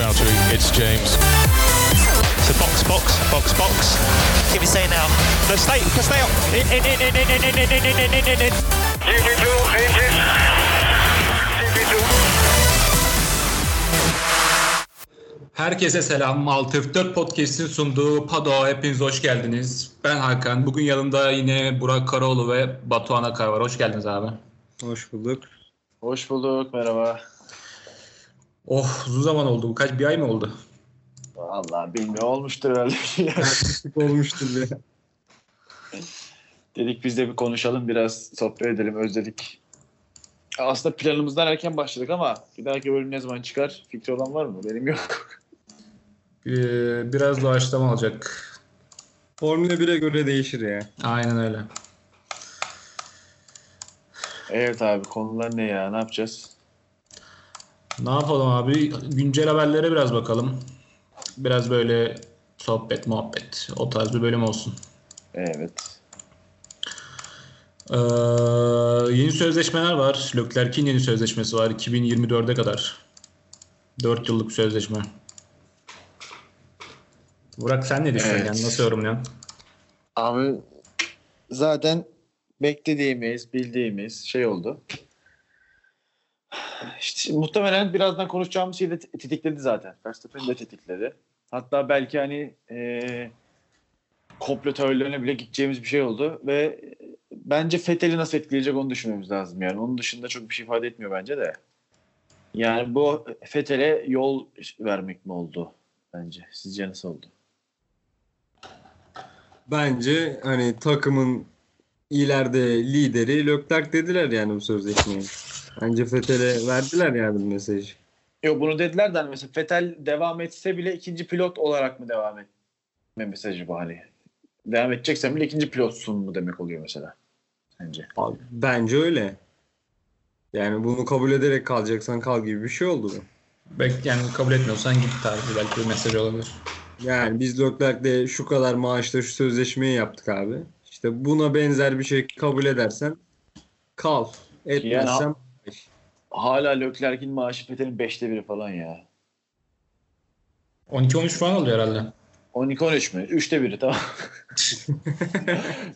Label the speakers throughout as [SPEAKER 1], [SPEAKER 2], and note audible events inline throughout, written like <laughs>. [SPEAKER 1] It's James. It's a box, box, box, box.
[SPEAKER 2] Can we say now?
[SPEAKER 1] No, stay, stay up. In, in, in, in, in, in, in, in, in, in, in, in, in.
[SPEAKER 3] GP2 engine. GP2.
[SPEAKER 4] Herkese selam. 644 Podcast'in sunduğu Pado'a hepiniz hoş geldiniz. Ben Hakan. Bugün yanımda yine Burak Karaoğlu ve Batuhan Akar var. Hoş geldiniz abi.
[SPEAKER 5] Hoş bulduk.
[SPEAKER 6] Hoş bulduk, merhaba.
[SPEAKER 4] Oh uzun zaman oldu. Bu kaç bir ay mı oldu?
[SPEAKER 6] Vallahi bilmiyor olmuştur herhalde. <laughs>
[SPEAKER 5] Sık olmuştur be.
[SPEAKER 6] Dedik biz de bir konuşalım, biraz sohbet edelim, özledik. Aslında planımızdan erken başladık ama bir dahaki bölüm ne zaman çıkar? Fikri olan var mı? Benim yok.
[SPEAKER 4] Ee, biraz doğaçlama olacak.
[SPEAKER 5] Formula 1'e göre değişir ya.
[SPEAKER 4] Aynen öyle.
[SPEAKER 6] Evet abi, konular ne ya? Ne yapacağız?
[SPEAKER 4] Ne yapalım abi? Güncel haberlere biraz bakalım. Biraz böyle sohbet, muhabbet. O tarz bir bölüm olsun.
[SPEAKER 6] Evet.
[SPEAKER 4] Ee, yeni sözleşmeler var. Leclerc'in yeni sözleşmesi var. 2024'e kadar. 4 yıllık bir sözleşme. Burak sen ne düşünüyorsun?
[SPEAKER 6] Evet.
[SPEAKER 4] Yani nasıl yorumluyorsun?
[SPEAKER 6] Abi zaten beklediğimiz, bildiğimiz şey oldu. İşte muhtemelen birazdan konuşacağımız şey de te- tetikledi zaten. Verstappen'i de tetikledi. Hatta belki hani eee komplo teorilerine bile gideceğimiz bir şey oldu ve bence Fethel'i nasıl etkileyecek onu düşünmemiz lazım yani. Onun dışında çok bir şey ifade etmiyor bence de. Yani bu Fethel'e yol vermek mi oldu bence? Sizce nasıl oldu?
[SPEAKER 5] Bence hani takımın ileride lideri Leclerc dediler yani bu sözleşmeyi. Bence Fethel'e verdiler yani bu mesajı.
[SPEAKER 6] Yok bunu dediler de hani mesela Fetel devam etse bile ikinci pilot olarak mı devam etme mesajı bu hani. Devam edeceksen bile ikinci pilotsun mu demek oluyor mesela. Bence.
[SPEAKER 5] Abi, bence öyle. Yani bunu kabul ederek kalacaksan kal gibi bir şey oldu bu.
[SPEAKER 4] Belki yani kabul etmiyorsan git tarzı belki bir mesaj olabilir.
[SPEAKER 5] Yani biz Leclerc'le şu kadar maaşla şu sözleşmeyi yaptık abi. İşte buna benzer bir şey kabul edersen kal. Etmezsen
[SPEAKER 6] Hala Leclerc'in maaşı Fetel'in 5'te biri falan ya.
[SPEAKER 4] 12-13 falan oluyor herhalde.
[SPEAKER 6] 12 13 mü? 3'te biri tamam.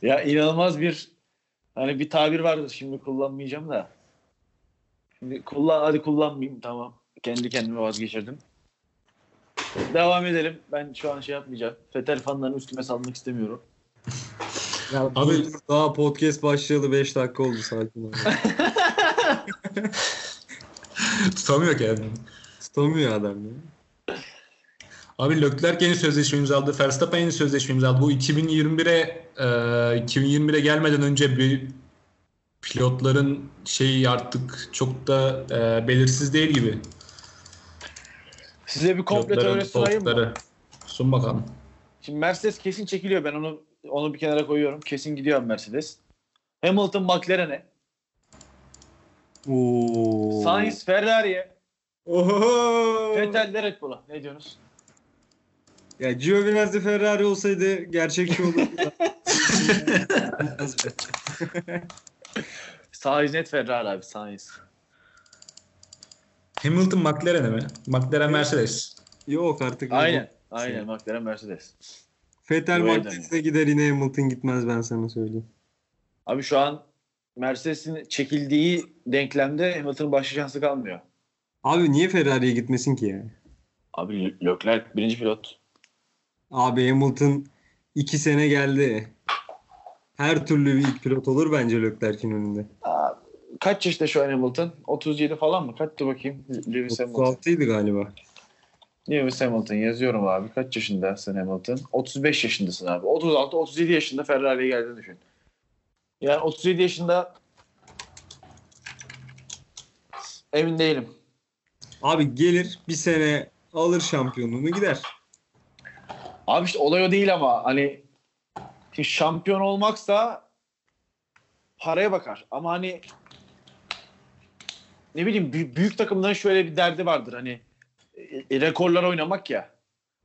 [SPEAKER 6] ya inanılmaz bir hani bir tabir vardır şimdi kullanmayacağım da. Şimdi kullan hadi kullanmayayım tamam. Kendi kendime vazgeçirdim. Devam edelim. Ben şu an şey yapmayacağım. Fetel fanlarını üstüme salmak istemiyorum.
[SPEAKER 5] Ya
[SPEAKER 4] Abi-
[SPEAKER 5] abi daha podcast başlayalı 5 dakika oldu sakin ol.
[SPEAKER 4] Tutamıyor kendini.
[SPEAKER 5] Tutamıyor adam ya.
[SPEAKER 4] Abi Leclerc yeni sözleşme imzaladı. Verstappen yeni sözleşme imzaladı. Bu 2021'e e, 2021'e gelmeden önce bir pilotların şeyi artık çok da e, belirsiz değil gibi.
[SPEAKER 6] Size bir komple
[SPEAKER 4] Pilotların
[SPEAKER 6] teorisi sunayım mı?
[SPEAKER 4] koltukları. Sun bakalım.
[SPEAKER 6] Şimdi Mercedes kesin çekiliyor. Ben onu onu bir kenara koyuyorum. Kesin gidiyor Mercedes. Hamilton McLaren'e.
[SPEAKER 5] Oo.
[SPEAKER 6] Sainz Ferrari'ye.
[SPEAKER 5] Oho.
[SPEAKER 6] Vettel de Red Bull'a. Ne diyorsunuz?
[SPEAKER 5] Ya Giovinazzi Ferrari olsaydı gerçekçi olurdu.
[SPEAKER 6] Sainz net Ferrari abi. Sainz.
[SPEAKER 4] Hamilton McLaren'e mi? McLaren Mercedes.
[SPEAKER 5] Yok artık.
[SPEAKER 6] Aynen. Aynen McLaren Mercedes.
[SPEAKER 5] Fetel
[SPEAKER 6] Bu
[SPEAKER 5] Mercedes'e gider yine Hamilton gitmez ben sana söyleyeyim.
[SPEAKER 6] Abi şu an Mercedes'in çekildiği denklemde Hamilton'ın başka şansı kalmıyor.
[SPEAKER 5] Abi niye Ferrari'ye gitmesin ki ya?
[SPEAKER 6] Abi Lö- Leclerc birinci pilot.
[SPEAKER 5] Abi Hamilton 2 sene geldi. Her türlü bir ilk pilot olur bence Leclerc'in önünde.
[SPEAKER 6] Aa, Kaç yaşında şu an Hamilton? 37 falan mı? Kaçtı bakayım. Lewis Hamilton.
[SPEAKER 5] 36'ydı galiba.
[SPEAKER 6] Lewis Hamilton yazıyorum abi. Kaç yaşında sen Hamilton? 35 yaşındasın abi. 36-37 yaşında Ferrari'ye geldiğini düşün. Yani 37 yaşında emin değilim.
[SPEAKER 5] Abi gelir bir sene alır şampiyonluğunu gider.
[SPEAKER 6] Abi işte olay o değil ama hani şimdi şampiyon olmaksa paraya bakar. Ama hani ne bileyim büyük, büyük takımların şöyle bir derdi vardır hani e, e, rekorlar oynamak ya.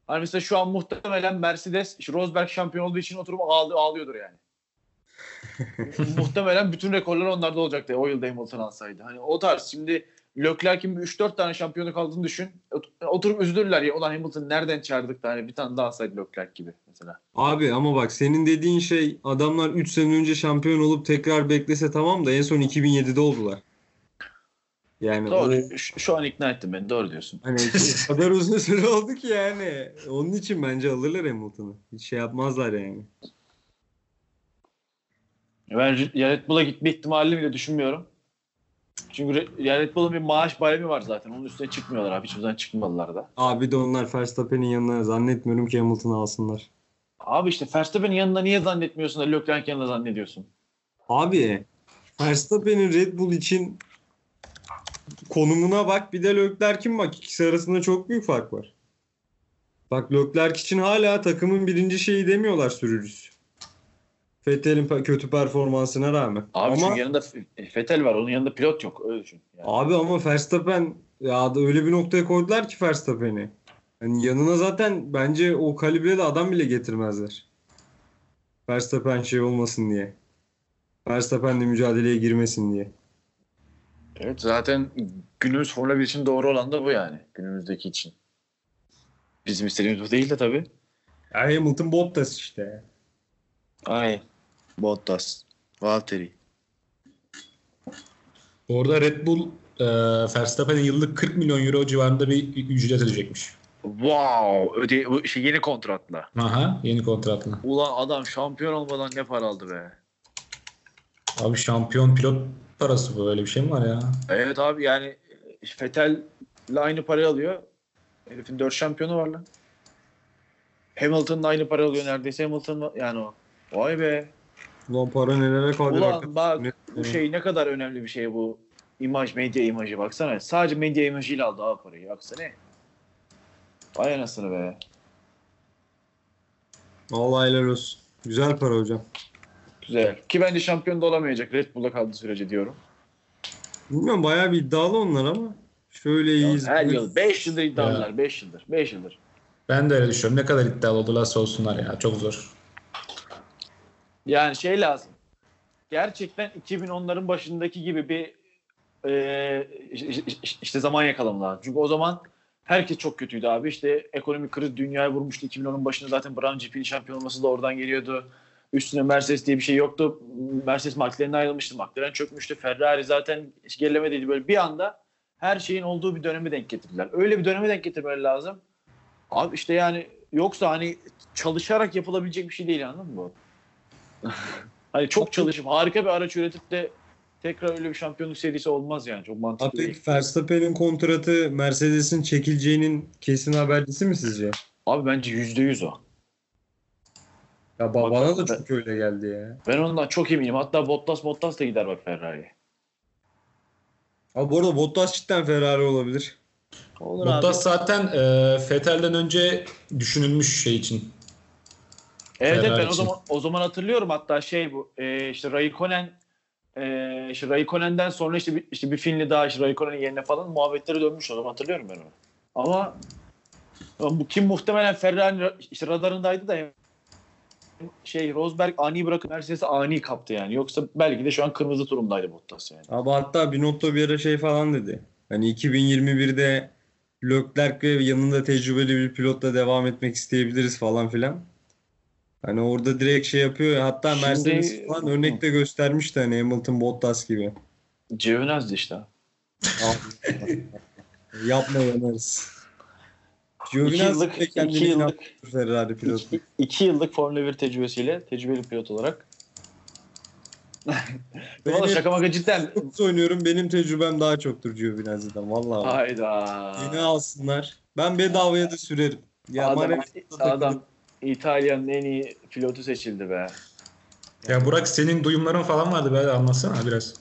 [SPEAKER 6] Hani mesela şu an muhtemelen Mercedes işte Rosberg şampiyon olduğu için oturup ağlı, ağlıyordur yani. muhtemelen bütün rekorlar onlarda olacaktı o yıl Hamilton alsaydı. Hani o tarz şimdi Leclerc'in bir 3-4 tane şampiyonluk aldığını düşün. Ot- Oturup üzülürler ya. Ulan Hamilton nereden çağırdık da hani bir tane daha alsaydı Leclerc gibi mesela.
[SPEAKER 5] Abi ama bak senin dediğin şey adamlar 3 sene önce şampiyon olup tekrar beklese tamam da en son 2007'de oldular. Yani o-
[SPEAKER 6] Doğru. Şu, şu an ikna ettin beni. Doğru diyorsun.
[SPEAKER 5] hani o <laughs> kadar uzun süre oldu ki yani. Onun için bence alırlar Hamilton'ı. Hiç şey yapmazlar yani.
[SPEAKER 6] Ben Re- Red Bull'a gitme ihtimalini bile düşünmüyorum. Çünkü Re- Red Bull'un bir maaş baremi var zaten. Onun üstüne çıkmıyorlar abi. Hiçbir zaman çıkmadılar da.
[SPEAKER 5] Abi de onlar Verstappen'in yanına zannetmiyorum ki Hamilton'ı alsınlar.
[SPEAKER 6] Abi işte Verstappen'in yanında niye zannetmiyorsun da Leclerc yanında zannediyorsun?
[SPEAKER 5] Abi Verstappen'in Red Bull için konumuna bak bir de Leclerc'in bak ikisi arasında çok büyük fark var. Bak Leclerc için hala takımın birinci şeyi demiyorlar sürücüsü. Vettel'in pe- kötü performansına rağmen.
[SPEAKER 6] Abi
[SPEAKER 5] ama
[SPEAKER 6] çünkü yanında F- Vettel var. Onun yanında pilot yok. Öyle düşün. Yani.
[SPEAKER 5] abi ama Verstappen ya da öyle bir noktaya koydular ki Verstappen'i. Yani yanına zaten bence o kalibrede adam bile getirmezler. Verstappen şey olmasın diye. Verstappen'le mücadeleye girmesin diye.
[SPEAKER 6] Evet zaten günümüz Formula 1 için doğru olan da bu yani. Günümüzdeki için. Bizim istediğimiz bu değil de tabii.
[SPEAKER 5] Ya Hamilton Bottas işte.
[SPEAKER 6] Ay. Bottas. Valtteri.
[SPEAKER 4] Orada Red Bull e, Verstappen'e yıllık 40 milyon euro civarında bir ücret ödeyecekmiş.
[SPEAKER 6] Wow. Öde bu şey yeni kontratla.
[SPEAKER 4] Aha yeni kontratla.
[SPEAKER 6] Ulan adam şampiyon olmadan ne para aldı be.
[SPEAKER 4] Abi şampiyon pilot parası bu öyle bir şey mi var ya?
[SPEAKER 6] Evet abi yani Fetel'le aynı parayı alıyor. Herifin dört şampiyonu var lan. Hamilton'la aynı parayı alıyor neredeyse. Hamilton yani o. Vay be.
[SPEAKER 5] Ulan para nelere kadir
[SPEAKER 6] Ulan bak
[SPEAKER 5] Ne-
[SPEAKER 6] bu şey ne kadar önemli bir şey bu. İmaj, medya imajı baksana. Sadece medya imajıyla aldı abi parayı. Baksana. Vay anasını be.
[SPEAKER 5] Allah helal olsun. Güzel para hocam.
[SPEAKER 6] Güzel. Ki bence şampiyon da olamayacak Red Bull'da kaldığı sürece diyorum.
[SPEAKER 5] Bilmiyorum bayağı bir iddialı onlar ama. Şöyle
[SPEAKER 6] Ya
[SPEAKER 5] iyiyiz.
[SPEAKER 6] Her yıl. 5 yıldır iddialılar. 5 yıldır. 5 yıldır.
[SPEAKER 4] Ben de öyle düşünüyorum. Ne kadar iddialı olurlarsa olsunlar ya. Çok zor.
[SPEAKER 6] Yani şey lazım. Gerçekten 2010'ların başındaki gibi bir e, işte zaman yakalamalar. Çünkü o zaman herkes çok kötüydü abi. İşte ekonomik kriz dünyaya vurmuştu. 2010'un başında zaten Brown GP'nin şampiyon olması da oradan geliyordu. Üstüne Mercedes diye bir şey yoktu. Mercedes McLaren'e ayrılmıştı. McLaren çökmüştü. Ferrari zaten hiç gerilemediydi. Böyle bir anda her şeyin olduğu bir döneme denk getirdiler. Öyle bir döneme denk getirmeleri lazım. Abi işte yani yoksa hani çalışarak yapılabilecek bir şey değil anladın mı? <laughs> bu? hani çok çalışıp harika bir araç üretip de tekrar öyle bir şampiyonluk serisi olmaz yani. Çok mantıklı değil.
[SPEAKER 5] Artık Verstappen'in kontratı Mercedes'in çekileceğinin kesin habercisi mi sizce?
[SPEAKER 6] Abi bence yüzde yüz o.
[SPEAKER 5] Ya ba- bana da çok öyle geldi ya.
[SPEAKER 6] Ben ondan çok eminim. Hatta Bottas Bottas da gider bak Ferrari'ye.
[SPEAKER 5] Abi bu arada Bottas cidden Ferrari olabilir.
[SPEAKER 6] Olur
[SPEAKER 4] Bottas zaten e, Vettel'den önce düşünülmüş şey için.
[SPEAKER 6] Evet, evet
[SPEAKER 4] Ferrari
[SPEAKER 6] ben o
[SPEAKER 4] için.
[SPEAKER 6] zaman o zaman hatırlıyorum hatta şey bu e, işte Raikkonen e, işte Raikkonen'den sonra işte bir, işte bir Finli daha işte Raikkonen'in yerine falan muhabbetleri dönmüş o zaman hatırlıyorum ben onu. Ama ama bu kim muhtemelen Ferrari'nin işte radarındaydı da şey Rosberg ani bırakıp Mercedes'i ani kaptı yani. Yoksa belki de şu an kırmızı turumdaydı Bottas yani.
[SPEAKER 5] Abi hatta Binotto bir ara şey falan dedi. Hani 2021'de Leclerc ve yanında tecrübeli bir pilotla devam etmek isteyebiliriz falan filan. Hani orada direkt şey yapıyor. ya, Hatta
[SPEAKER 6] Şimdi-
[SPEAKER 5] Mercedes falan örnek de göstermişti hani Hamilton Bottas gibi.
[SPEAKER 6] Cevenaz'dı işte. abi.
[SPEAKER 5] Yapma yanarız.
[SPEAKER 6] İki
[SPEAKER 5] Giovinazzi
[SPEAKER 6] yıllık,
[SPEAKER 5] de kendini
[SPEAKER 6] iki yıllık
[SPEAKER 5] inandırır Ferrari pilotu.
[SPEAKER 6] <laughs> İki, iki yıllık Formula 1 tecrübesiyle tecrübeli pilot olarak. Valla
[SPEAKER 5] Benim-
[SPEAKER 6] şaka maka cidden.
[SPEAKER 5] Futbol oynuyorum. Benim tecrübem daha çoktur Giovinazzi'den. Vallahi.
[SPEAKER 6] <laughs> Hayda.
[SPEAKER 5] Yine alsınlar. Ben bedavaya da sürerim. Ya
[SPEAKER 6] Adam,
[SPEAKER 5] Maranello'da takılır.
[SPEAKER 6] adam İtalya'nın en iyi pilotu seçildi be.
[SPEAKER 4] Ya Burak senin duyumların falan vardı. Böyle anlatsana biraz.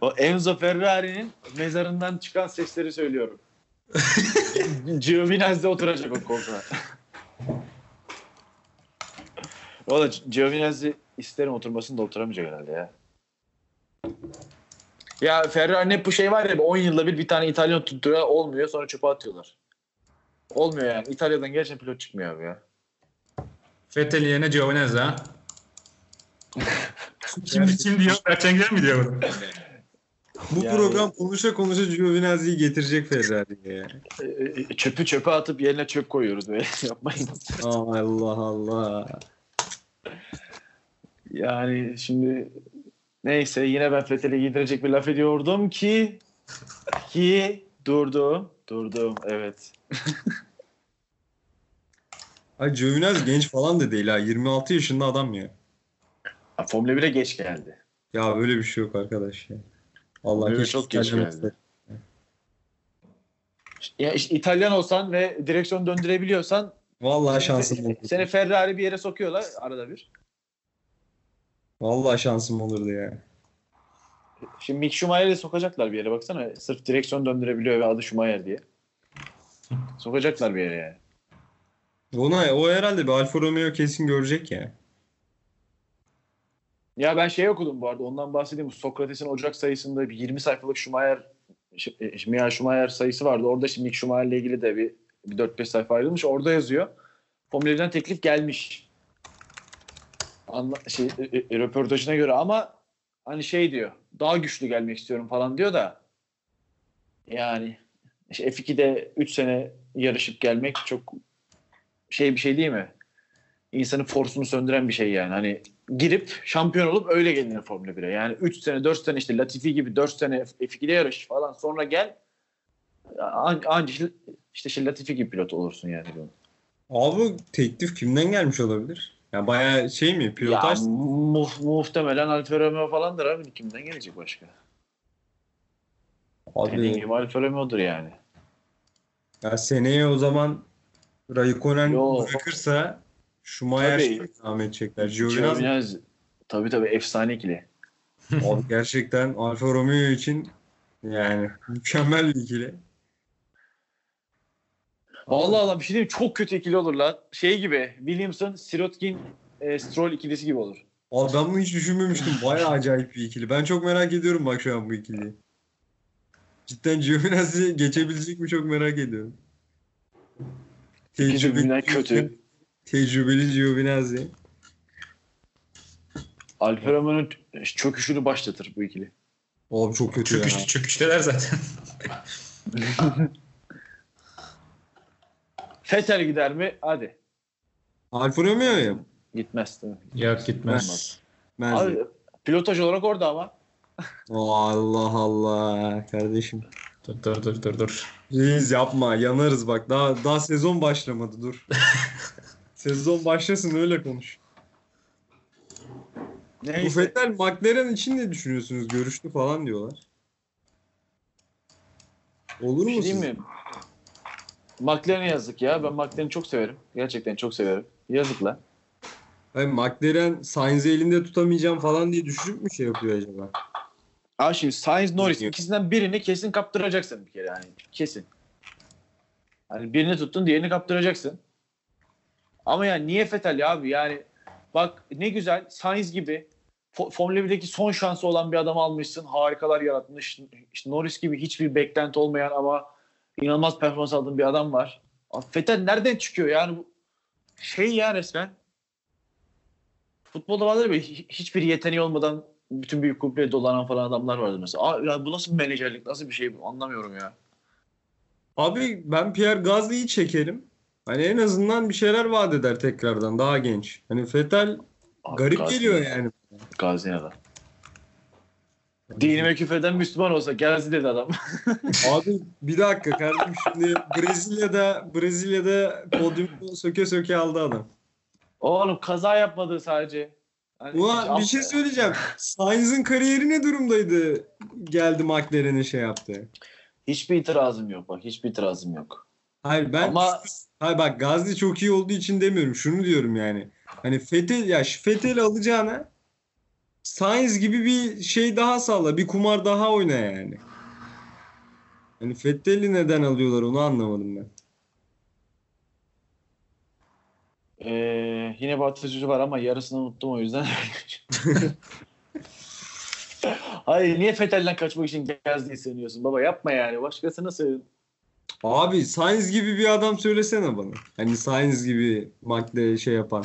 [SPEAKER 6] O Enzo Ferrari'nin mezarından çıkan sesleri söylüyorum. <laughs> Giovinazzi oturacak o <laughs> koltuğa. Valla Giovinazzi isterim oturmasını da oturamayacak herhalde ya. Ya Ferrari'nin hep bu şey var ya 10 yılda bir bir tane İtalyan tutturuyor olmuyor sonra çöpe atıyorlar. Olmuyor yani. İtalya'dan gerçekten pilot çıkmıyor abi ya.
[SPEAKER 4] Vettel yerine Giovinazzi ha. Şimdi <laughs> kim diyor? Berçen Güler mi diyor bunu?
[SPEAKER 5] Bu
[SPEAKER 6] Yani-
[SPEAKER 5] program konuşa konuşa Giovinazzi'yi getirecek Ferrari'ye ya.
[SPEAKER 6] Ee, çöpü çöpe atıp yerine çöp koyuyoruz böyle <laughs> yapmayın.
[SPEAKER 5] Allah Allah.
[SPEAKER 6] Yani şimdi neyse yine ben Fethel'e giydirecek bir laf ediyordum ki ki durdum. Durdum evet.
[SPEAKER 5] Ay Giovinazzi genç falan da değil ha. 26 yaşında adam ya.
[SPEAKER 6] Ha, Formula 1'e geç geldi.
[SPEAKER 5] Ya böyle bir şey yok arkadaş ya. Allah
[SPEAKER 6] Böyle
[SPEAKER 5] keşke
[SPEAKER 6] çok geç
[SPEAKER 5] İtalyan
[SPEAKER 6] geldi.
[SPEAKER 5] olsa.
[SPEAKER 6] Ya işte İtalyan olsan ve direksiyon döndürebiliyorsan
[SPEAKER 5] Vallahi şansım olurdu.
[SPEAKER 6] seni Ferrari bir yere sokuyorlar arada bir.
[SPEAKER 5] Vallahi şansım olurdu ya.
[SPEAKER 6] Şimdi Mick Schumacher'i sokacaklar bir yere baksana. Sırf direksiyon döndürebiliyor ve adı Schumacher diye. Sokacaklar bir yere yani.
[SPEAKER 5] Ona, o herhalde bir Alfa Romeo kesin görecek ya.
[SPEAKER 6] Ya ben şey okudum bu arada ondan bahsedeyim. Sokrates'in Ocak sayısında bir 20 sayfalık Schumacher Ş- e, Michael Schumacher sayısı vardı. Orada şimdi Mick Schumacher'le ilgili de bir, bir 4-5 sayfa ayrılmış. Orada yazıyor. Formula 1'den teklif gelmiş. Anla, şey, e, e, röportajına göre ama hani şey diyor. Daha güçlü gelmek istiyorum falan diyor da yani işte F2'de 3 sene yarışıp gelmek çok şey bir şey değil mi? İnsanın forsunu söndüren bir şey yani. Hani girip şampiyon olup öyle gelinir Formula 1'e. Yani 3 sene 4 sene işte Latifi gibi 4 sene F2'de yarış falan sonra gel anca an, işte- işte şey Latifi gibi pilot olursun yani. diyorum.
[SPEAKER 5] Abi bu teklif kimden gelmiş olabilir? Ya bayağı şey mi? Pilotaj
[SPEAKER 6] Ya, mu- muhtemelen Alfa Romeo falandır abi kimden gelecek başka? Dediğim
[SPEAKER 5] abi.
[SPEAKER 6] gibi Alfa Romeo'dur yani.
[SPEAKER 5] Ya seneye o zaman Raikkonen
[SPEAKER 6] Yo.
[SPEAKER 5] bırakırsa Schumacher
[SPEAKER 6] Tabii.
[SPEAKER 5] devam edecekler. Giovinazzi
[SPEAKER 6] Giovinazzi. Tabii tabii efsane ikili.
[SPEAKER 5] Abi gerçekten Alfa Romeo için yani mükemmel bir ikili.
[SPEAKER 6] Allah Allah bir şey diyeyim mi? çok kötü ikili olur lan. Şey gibi Williamson, Sirotkin, e, Stroll ikilisi gibi olur.
[SPEAKER 5] Abi ben bunu hiç düşünmemiştim. Bayağı acayip bir ikili. Ben çok merak ediyorum bak şu an bu ikiliyi. Cidden Giovinazzi geçebilecek mi çok merak ediyorum.
[SPEAKER 6] İkisi birbirinden kötü.
[SPEAKER 5] Tecrübeli Giovinazzi.
[SPEAKER 6] Alfa Romeo'nun çöküşünü başlatır bu ikili.
[SPEAKER 5] Abi çok kötü ya.
[SPEAKER 4] Çöküş, çöküşteler zaten.
[SPEAKER 6] Fetel gider mi? Hadi.
[SPEAKER 5] Alfa Romeo'ya mı?
[SPEAKER 6] Gitmez tabii.
[SPEAKER 4] <laughs> Yok
[SPEAKER 6] gitmez.
[SPEAKER 4] gitmez.
[SPEAKER 5] Bence.
[SPEAKER 6] Abi, pilotaj olarak orada ama.
[SPEAKER 5] Allah Allah kardeşim.
[SPEAKER 4] Dur dur dur dur dur.
[SPEAKER 5] Reis yapma yanarız bak daha daha sezon başlamadı dur. sezon başlasın öyle konuş. Bu
[SPEAKER 6] Neyse.
[SPEAKER 5] Fettel McLaren için ne düşünüyorsunuz? Görüştü falan diyorlar. Olur
[SPEAKER 6] Bir
[SPEAKER 5] mu
[SPEAKER 6] şey
[SPEAKER 5] siz?
[SPEAKER 6] diyeyim mi? McLaren'e yazık ya. Ben McLaren'i çok severim. Gerçekten çok severim. Yazık lan.
[SPEAKER 5] Hayır, McLaren Sainz'i elinde tutamayacağım falan diye düşünüp mü şey yapıyor acaba?
[SPEAKER 6] Abi şimdi Sainz Norris
[SPEAKER 5] Bilmiyorum.
[SPEAKER 6] ikisinden birini kesin kaptıracaksın bir kere yani. Kesin. Hani birini tuttun diğerini kaptıracaksın. Ama yani niye Fetal abi yani bak ne güzel Sainz gibi Fo- Formula 1'deki son şansı olan bir adamı almışsın. Harikalar yaratmış. İşte Norris gibi hiçbir beklenti olmayan ama inanılmaz performans aldığın bir adam var. Abi Fetal nereden çıkıyor yani bu şey ya resmen. Futbolda vardır ya hi- hiçbir yeteneği olmadan bütün büyük kulüpleri dolanan falan adamlar vardı mesela. Aa, ya bu nasıl bir menajerlik, nasıl bir şey bu? anlamıyorum ya.
[SPEAKER 5] Abi ben Pierre Gasly'yi çekerim. Hani en azından bir şeyler vaat eder tekrardan daha genç. Hani Fettel
[SPEAKER 6] Abi,
[SPEAKER 5] garip
[SPEAKER 6] Gazi-
[SPEAKER 5] geliyor yani.
[SPEAKER 6] Gaziantep. Dinime küfreden Müslüman olsa gelsin dedi adam. <laughs>
[SPEAKER 5] Abi bir dakika kardeşim şimdi Brezilya'da Brezilya'da podyumu söke söke aldı adam.
[SPEAKER 6] Oğlum kaza yapmadı sadece. Hani
[SPEAKER 5] Ulan bir
[SPEAKER 6] hiç-
[SPEAKER 5] şey söyleyeceğim. Sainz'in kariyeri ne durumdaydı? Geldi McLaren'e şey yaptı.
[SPEAKER 6] Hiçbir itirazım yok bak. Hiçbir itirazım yok.
[SPEAKER 5] Hayır ben
[SPEAKER 6] Ama
[SPEAKER 5] hayır bak Gazli çok iyi olduğu için demiyorum. Şunu diyorum yani. Hani Fetel ya şu Fetel alacağına Sainz gibi bir şey daha sağla. Bir kumar daha oyna yani. Hani Fettel'i neden alıyorlar onu anlamadım ben. şey-
[SPEAKER 6] eee, yine Batıcı var ama yarısını unuttum o yüzden. <laughs> Hayır niye Fetel'den kaçmak için Gazi'yi sığınıyorsun baba yapma yani başkasına sığın.
[SPEAKER 5] Abi Sainz gibi bir adam söylesene bana. Hani Sainz gibi McLaren şey yapan.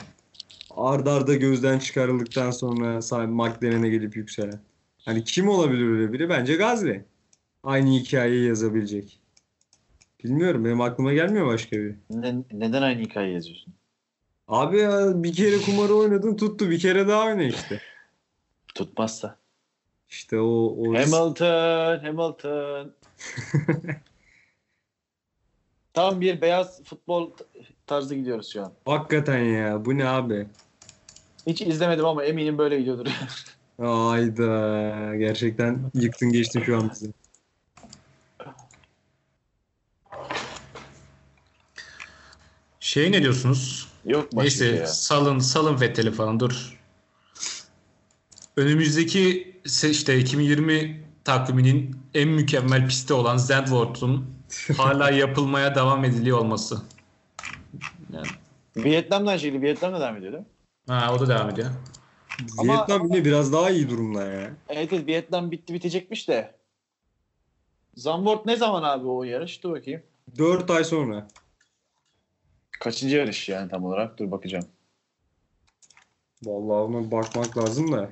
[SPEAKER 5] ardarda arda gözden çıkarıldıktan sonra sahibi McLaren'e gelip yükselen. Hani kim olabilir öyle biri? Bence Gazli. Aynı hikayeyi yazabilecek. Bilmiyorum benim aklıma gelmiyor başka biri.
[SPEAKER 6] Ne- neden aynı hikayeyi yazıyorsun?
[SPEAKER 5] Abi ya, bir kere kumarı oynadın tuttu bir kere daha oyna işte.
[SPEAKER 6] Tutmazsa.
[SPEAKER 5] İşte o, o risk-
[SPEAKER 6] Hamilton, <laughs> Hamilton. Tam bir beyaz futbol tarzı gidiyoruz şu an.
[SPEAKER 5] hakikaten ya bu ne abi?
[SPEAKER 6] Hiç izlemedim ama eminim böyle gidiyordur.
[SPEAKER 5] Ayda gerçekten yıktın geçtin şu an bizi.
[SPEAKER 4] Şey ne diyorsunuz?
[SPEAKER 6] <laughs> Yok mu?
[SPEAKER 4] Neyse
[SPEAKER 6] şey ya?
[SPEAKER 4] salın salın Vettel'i falan dur. Önümüzdeki se- işte 2020 takviminin en mükemmel pisti olan Zandvoort'un hala yapılmaya devam ediliyor olması. Yani,
[SPEAKER 6] Vietnam'dan şeydi. Vietnam'da devam ediyor değil mi?
[SPEAKER 4] ha, o da devam ediyor.
[SPEAKER 6] Ama-
[SPEAKER 5] Vietnam yine biraz daha iyi durumda ya.
[SPEAKER 6] E, Evet, evet Vietnam bitti bitecekmiş de. Zandvoort ne zaman abi o yarış? Dur bakayım.
[SPEAKER 5] 4 ay sonra.
[SPEAKER 6] Kaçıncı yarış yani tam olarak? Dur bakacağım.
[SPEAKER 5] Vallahi ona bakmak lazım da.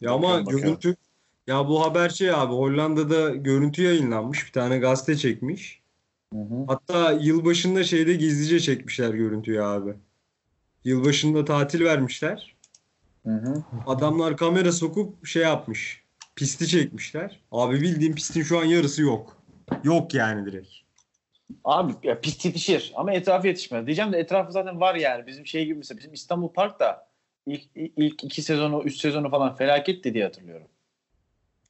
[SPEAKER 5] Ya ama
[SPEAKER 6] Bakalım, bakalım.
[SPEAKER 5] görüntü ya bu haber şey abi Hollanda'da görüntü yayınlanmış. Bir tane gazete çekmiş. Hatta yılbaşında şeyde gizlice çekmişler görüntüyü abi. Yılbaşında tatil vermişler. Adamlar kamera sokup şey yapmış. Pisti çekmişler. Abi bildiğin pistin şu an yarısı yok. Yok yani direkt.
[SPEAKER 6] Abi ya, pist yetişir ama etrafı yetişmez. Diyeceğim de etrafı zaten var yani. Bizim şey gibi mesela bizim İstanbul Park da ilk, ilk iki sezonu, üç sezonu falan felaketti diye hatırlıyorum.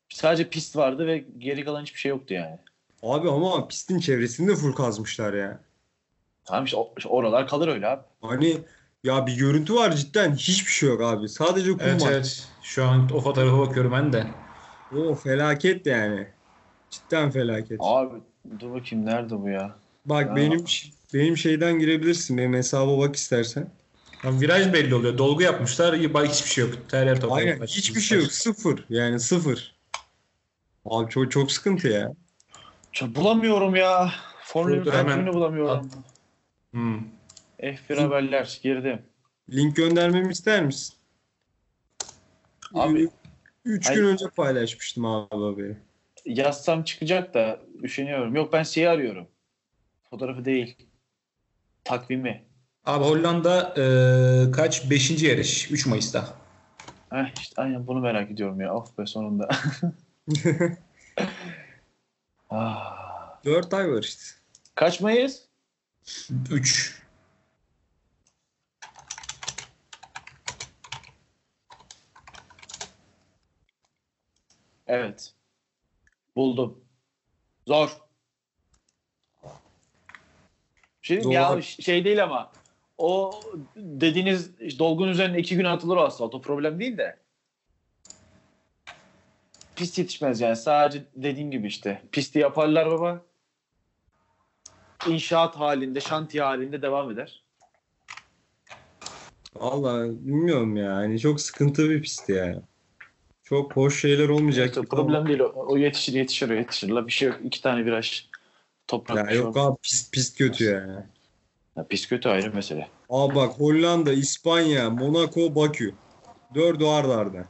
[SPEAKER 6] Sadece pist vardı ve geri kalan hiçbir şey yoktu yani.
[SPEAKER 5] Abi ama pistin çevresini de full kazmışlar ya.
[SPEAKER 6] Tamam işte, o- işte oralar kalır öyle abi.
[SPEAKER 5] Hani ya bir görüntü var cidden hiçbir şey yok abi. Sadece kum
[SPEAKER 4] Evet
[SPEAKER 5] var.
[SPEAKER 4] evet. Şu an o fotoğrafa bakıyorum ben de.
[SPEAKER 5] O felaket yani. Cidden felaket.
[SPEAKER 6] Abi dur bakayım nerede bu ya?
[SPEAKER 5] Bak
[SPEAKER 6] Ya.
[SPEAKER 5] benim benim şeyden girebilirsin. Benim hesaba bak istersen.
[SPEAKER 4] Ya viraj belli oluyor. Dolgu yapmışlar. iyi, Bak hiçbir şey yok. Her yer toprak.
[SPEAKER 5] Aynen hiçbir şey yok. Sıfır. Yani sıfır. Abi çok çok sıkıntı ya.
[SPEAKER 6] Ç- bulamıyorum ya. Formülün
[SPEAKER 4] Dur, hemen
[SPEAKER 6] takvimini bulamıyorum.
[SPEAKER 4] Hmm.
[SPEAKER 6] F1 haberler girdim.
[SPEAKER 5] Link göndermemi ister misin?
[SPEAKER 6] Abi.
[SPEAKER 5] 3
[SPEAKER 6] Ay-
[SPEAKER 5] gün önce paylaşmıştım abi haberi.
[SPEAKER 6] Yazsam çıkacak da üşeniyorum. Yok ben şeyi arıyorum. Fotoğrafı değil. Takvimi.
[SPEAKER 4] Abi Hollanda eee, kaç? Beşinci yarış. 3 Mayıs'ta.
[SPEAKER 6] Heh, işte aynen bunu merak ediyorum ya. Of be sonunda. ah.
[SPEAKER 5] 4 ay var işte.
[SPEAKER 6] Kaç Mayıs?
[SPEAKER 4] 3.
[SPEAKER 6] Evet. Buldum. Zor. Şey diyeyim
[SPEAKER 5] Zor.
[SPEAKER 6] ya ş- şey değil ama o dediğiniz dolgun üzerine iki gün atılır o asfalt. O problem değil de. Pist yetişmez yani. Sadece dediğim gibi işte. Pisti yaparlar baba. İnşaat halinde, şantiye halinde devam eder.
[SPEAKER 5] Valla bilmiyorum ya. Hani çok sıkıntı bir pisti yani. Çok hoş şeyler olmayacak.
[SPEAKER 6] İşte
[SPEAKER 5] gibi
[SPEAKER 6] problem değil o. O yetişir, yetişir, o yetişir. La bir şey yok. İki tane viraj.
[SPEAKER 5] ama-
[SPEAKER 6] Toprak. şey
[SPEAKER 5] Ya yok abi pist, pist kötü yani.
[SPEAKER 6] Ya pis kötü ayrı mesele.
[SPEAKER 5] Abi bak Hollanda, İspanya, Monaco, Bakü. Dördü arda arda.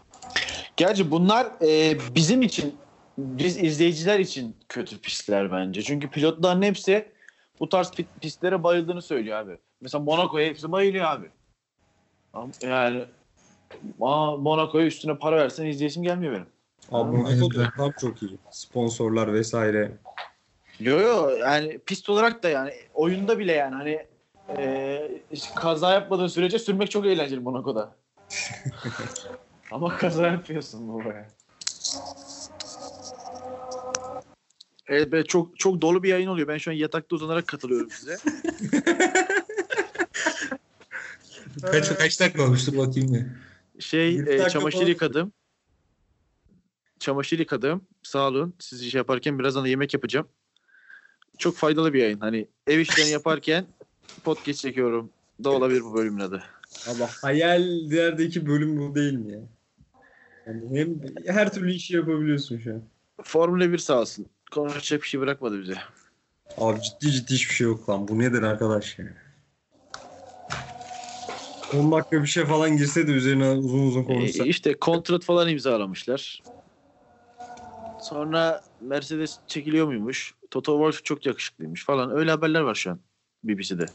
[SPEAKER 6] Gerçi bunlar e, bizim için, biz izleyiciler için kötü pistler bence. Çünkü pilotların hepsi bu tarz pi- pistlere bayıldığını söylüyor abi. Mesela Monaco'ya hepsi bayılıyor abi. Ama Yani aa, Monaco'ya üstüne para versen izleyesim gelmiyor benim.
[SPEAKER 5] Abi
[SPEAKER 4] Aynen
[SPEAKER 5] Monaco
[SPEAKER 4] öyle.
[SPEAKER 5] da tam çok iyi. Sponsorlar vesaire.
[SPEAKER 6] Yo yo yani pist olarak da yani oyunda bile yani hani e, işte kaza yapmadığın sürece sürmek çok eğlenceli Monaco'da. Ama kaza yapıyorsun baba Evet be, çok çok dolu bir yayın oluyor. Ben şu an yatakta uzanarak katılıyorum size.
[SPEAKER 4] Kaç, kaç dakika olmuştur bakayım bir.
[SPEAKER 6] Şey
[SPEAKER 5] Bir
[SPEAKER 6] e,
[SPEAKER 5] dakika
[SPEAKER 6] çamaşır
[SPEAKER 5] falan-
[SPEAKER 6] yıkadım. Çamaşır yıkadım. Sağ olun. Siz iş yaparken birazdan da yemek yapacağım. Çok faydalı bir yayın. Hani ev işlerini yaparken podcast çekiyorum. Da olabilir bu bölümün adı.
[SPEAKER 5] Abi hayallerdeki bölüm bu değil mi ya? Yani hem her türlü işi yapabiliyorsun şu an.
[SPEAKER 6] Formula 1 sağ olsun. Konuşacak bir şey bırakmadı bize.
[SPEAKER 5] Abi ciddi ciddi hiçbir şey yok lan. Bu nedir arkadaş ya? 10 dakika bir şey falan girse de üzerine uzun uzun konuşsa.
[SPEAKER 6] E, işte kontrat falan imzalamışlar. Sonra Mercedes çekiliyor muymuş? Toto Wolff çok yakışıklıymış falan. Öyle haberler var şu an BBC'de.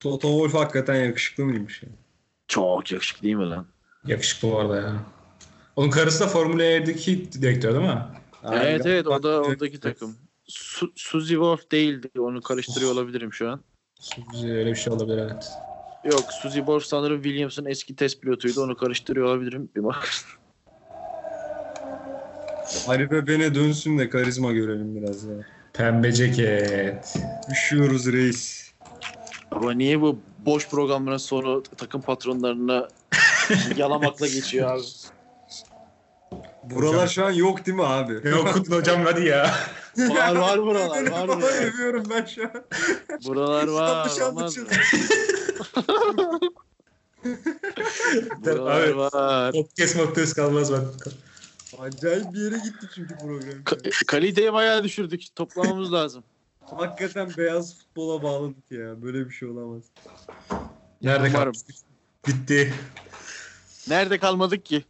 [SPEAKER 5] Toto Wolff hakikaten yakışıklı mıymış ya?
[SPEAKER 6] Çok yakışıklı değil mi lan?
[SPEAKER 4] Yakışıklı bu arada ya. Onun karısı da Formula 1'deki direktör değil mi?
[SPEAKER 6] evet
[SPEAKER 5] Aynen.
[SPEAKER 6] evet o da
[SPEAKER 5] Bak-
[SPEAKER 6] oradaki takım. Su- Suzy Wolf değildi. Onu karıştırıyor olabilirim şu an.
[SPEAKER 4] Öyle bir şey olabilir evet.
[SPEAKER 6] Yok Suzy Wolf sanırım Williams'ın eski test pilotuydu. Onu karıştırıyor olabilirim. Bir bak.
[SPEAKER 5] Arife Bene dönsün de karizma görelim biraz ya.
[SPEAKER 4] Pembe ceket.
[SPEAKER 5] Üşüyoruz reis.
[SPEAKER 6] Ama niye bu boş programların sonu takım <laughs> patronlarına yalamakla geçiyor abi?
[SPEAKER 5] Buralar şu an yok değil mi abi?
[SPEAKER 4] Yok Kutlu hocam hadi ya.
[SPEAKER 5] <laughs>
[SPEAKER 6] Var var buralar var
[SPEAKER 5] Falan
[SPEAKER 6] buralar.
[SPEAKER 5] övüyorum ben şu an.
[SPEAKER 6] Buralar var.
[SPEAKER 5] Yanlış
[SPEAKER 6] olmaz mı? <laughs>
[SPEAKER 4] Evet.
[SPEAKER 6] Buralar var.
[SPEAKER 4] Podcast maddesi kalmaz bak.
[SPEAKER 5] Acayip bir yere gitti çünkü program.
[SPEAKER 6] Ka- kaliteyi bayağı düşürdük. Toplamamız lazım.
[SPEAKER 5] Hakikaten beyaz futbola bağladık ya. Böyle bir şey olamaz.
[SPEAKER 4] Nerede
[SPEAKER 6] Umarım.
[SPEAKER 4] kalmıştık? Bitti.
[SPEAKER 6] Nerede kalmadık ki?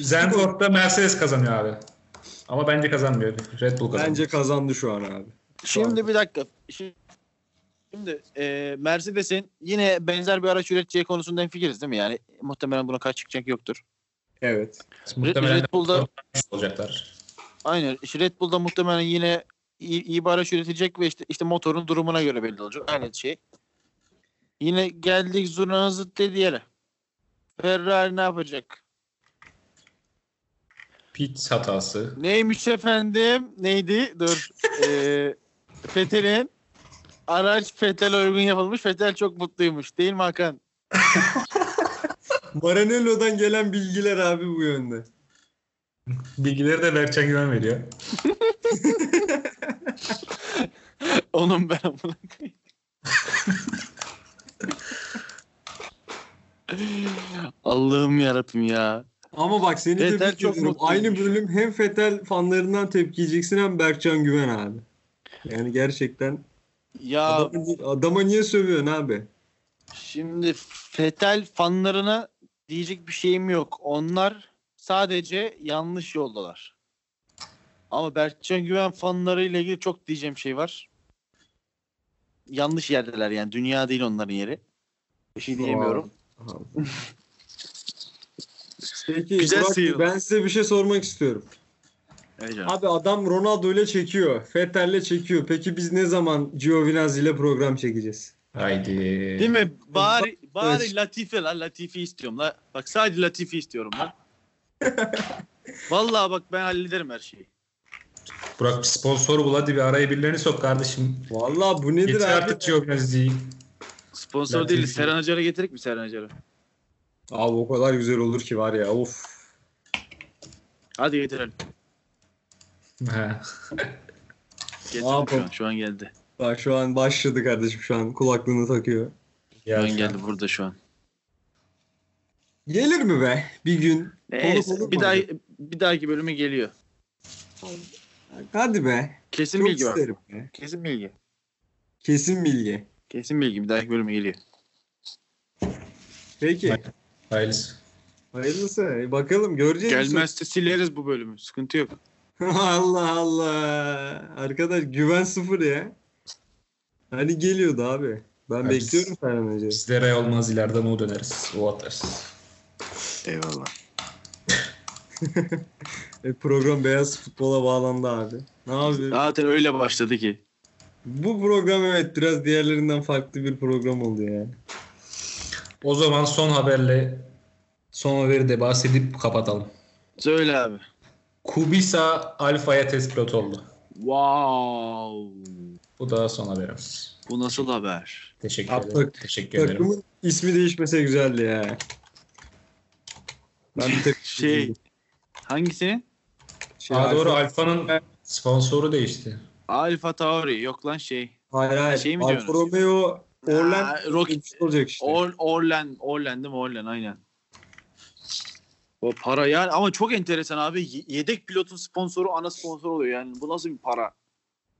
[SPEAKER 4] Zandvoort'ta Mercedes kazanıyor abi. Ama bence kazanmıyor. Red Bull kazanıyor.
[SPEAKER 5] Bence kazandı şu an abi.
[SPEAKER 6] Şimdi bir dakika. Şimdi, şimdi e, Mercedes'in yine benzer bir araç üreteceği konusunda fikiriz değil mi? Yani muhtemelen buna kaç çıkacak yoktur.
[SPEAKER 5] Evet.
[SPEAKER 4] muhtemelen
[SPEAKER 6] Red Bull'da
[SPEAKER 4] olacaklar.
[SPEAKER 6] aynen. işte Red Bull'da muhtemelen yine iyi, iyi bir araç üretecek ve işte, işte motorun durumuna göre belli olacak. Aynı şey. Yine geldik zurna zıt dediği yere. Ferrari ne yapacak?
[SPEAKER 4] Pit hatası.
[SPEAKER 6] Neymiş efendim? Neydi? Dur. Ee, Fethel'in araç Fethel uygun yapılmış. Fethel çok mutluymuş. Değil mi Hakan?
[SPEAKER 5] Maranello'dan gelen bilgiler abi bu yönde.
[SPEAKER 4] Bilgileri de Berkcan Güven veriyor.
[SPEAKER 6] Onun ben amına koyayım. Allah'ım yarabbim ya.
[SPEAKER 5] Ama bak seni
[SPEAKER 6] Vettel
[SPEAKER 5] tebrik
[SPEAKER 6] çok
[SPEAKER 5] ediyorum.
[SPEAKER 6] mutluymuş.
[SPEAKER 5] Aynı bölüm hem Fetel fanlarından tepki yiyeceksin hem Berkcan Güven abi. Yani gerçekten
[SPEAKER 6] Ya
[SPEAKER 5] adamı, ni- adama niye sövüyorsun abi?
[SPEAKER 6] şimdi Fetel fanlarına diyecek bir şeyim yok. Onlar sadece yanlış yoldalar. Ama Berkcan Güven fanlarıyla ilgili çok diyeceğim şey var. Yanlış yerdeler yani. Dünya değil onların yeri. Bir şey diyemiyorum.
[SPEAKER 5] Aha. Peki
[SPEAKER 6] Güzel
[SPEAKER 5] Burak,
[SPEAKER 6] sıyrıldı.
[SPEAKER 5] ben size bir şey sormak istiyorum.
[SPEAKER 6] Evet canım.
[SPEAKER 5] Abi adam Ronaldo ile çekiyor. Fetel'le çekiyor. Peki biz ne zaman Giovinazzi ile program çekeceğiz?
[SPEAKER 4] Haydi.
[SPEAKER 6] Değil mi? Bari
[SPEAKER 5] Evet.
[SPEAKER 6] bari Latife lan Latife istiyorum lan. Bak sadece Latife istiyorum lan. Vallahi bak ben hallederim her şeyi.
[SPEAKER 4] Burak bir sponsor bul hadi bir araya birilerini sok kardeşim.
[SPEAKER 5] Vallahi bu nedir
[SPEAKER 4] Yeter
[SPEAKER 5] abi?
[SPEAKER 4] artık Giovinazzi'yi.
[SPEAKER 6] Sponsor
[SPEAKER 4] Latife.
[SPEAKER 6] değil Seren Acar'a getirek mi Seren Acar'ı?
[SPEAKER 5] Abi o kadar güzel olur ki var ya of.
[SPEAKER 6] Hadi getirelim.
[SPEAKER 4] Ha.
[SPEAKER 6] Getirdim
[SPEAKER 5] Abi.
[SPEAKER 6] şu an. Şu an geldi.
[SPEAKER 5] Bak şu an başladı kardeşim şu an kulaklığını takıyor.
[SPEAKER 6] Şu
[SPEAKER 4] Ya,
[SPEAKER 6] an geldi burada şu an.
[SPEAKER 5] Gelir mi be bir gün?
[SPEAKER 6] Neyse,
[SPEAKER 5] olur mu
[SPEAKER 6] bir daha
[SPEAKER 5] acaba?
[SPEAKER 6] bir dahaki bölümü geliyor.
[SPEAKER 5] Hadi be.
[SPEAKER 6] Kesin
[SPEAKER 5] Çok
[SPEAKER 6] bilgi var.
[SPEAKER 5] isterim be.
[SPEAKER 6] Kesin bilgi.
[SPEAKER 5] Kesin bilgi.
[SPEAKER 6] Kesin bilgi bir dahaki bölüme geliyor.
[SPEAKER 5] Peki.
[SPEAKER 4] Bak. Hayırlısı.
[SPEAKER 5] Hayırlısı. E, Bakalım göreceğiz. mi
[SPEAKER 6] Gelmezse sileriz bu bölümü. Sıkıntı yok.
[SPEAKER 5] sonra? <laughs> Allah Allah. Arkadaş güven sıfır ya. Hani geliyordu abi. Ben
[SPEAKER 4] Abi,
[SPEAKER 5] bekliyorum senden önce.
[SPEAKER 4] Bizlere olmaz ileriden o döneriz. O atarız.
[SPEAKER 6] Eyvallah.
[SPEAKER 5] E, program beyaz futbola bağlandı abi. Ne yapıyorsun?
[SPEAKER 6] Zaten öyle başladı ki.
[SPEAKER 5] Bu program evet biraz diğerlerinden farklı bir program oldu yani.
[SPEAKER 4] O zaman son haberle son haberi de bahsedip kapatalım.
[SPEAKER 6] Söyle abi.
[SPEAKER 4] Kubica Alfa'ya test pilot oldu.
[SPEAKER 6] Wow.
[SPEAKER 4] Bu da son haberimiz.
[SPEAKER 6] Bu nasıl haber?
[SPEAKER 4] Teşekkür
[SPEAKER 5] Abi,
[SPEAKER 4] ederim. Teşekkür ederim.
[SPEAKER 5] Takımın ismi değişmese güzeldi ya. Ben bir tek
[SPEAKER 6] <laughs> Şey hangisinin?
[SPEAKER 5] Şey,
[SPEAKER 4] Aa, doğru
[SPEAKER 5] Alfa-
[SPEAKER 4] Alfa'nın sponsoru değişti.
[SPEAKER 6] Alfa Tauri yok lan şey.
[SPEAKER 5] Hayır hayır.
[SPEAKER 6] Şey mi
[SPEAKER 5] Alfa
[SPEAKER 6] diyorsunuz?
[SPEAKER 5] Romeo Orlen
[SPEAKER 6] Aa, Rocket
[SPEAKER 5] olacak işte.
[SPEAKER 6] Or, Orlen Orlen değil mi Orlen aynen. O para yani ama çok enteresan abi. Y- Yedek pilotun sponsoru ana sponsor oluyor yani. Bu nasıl bir para?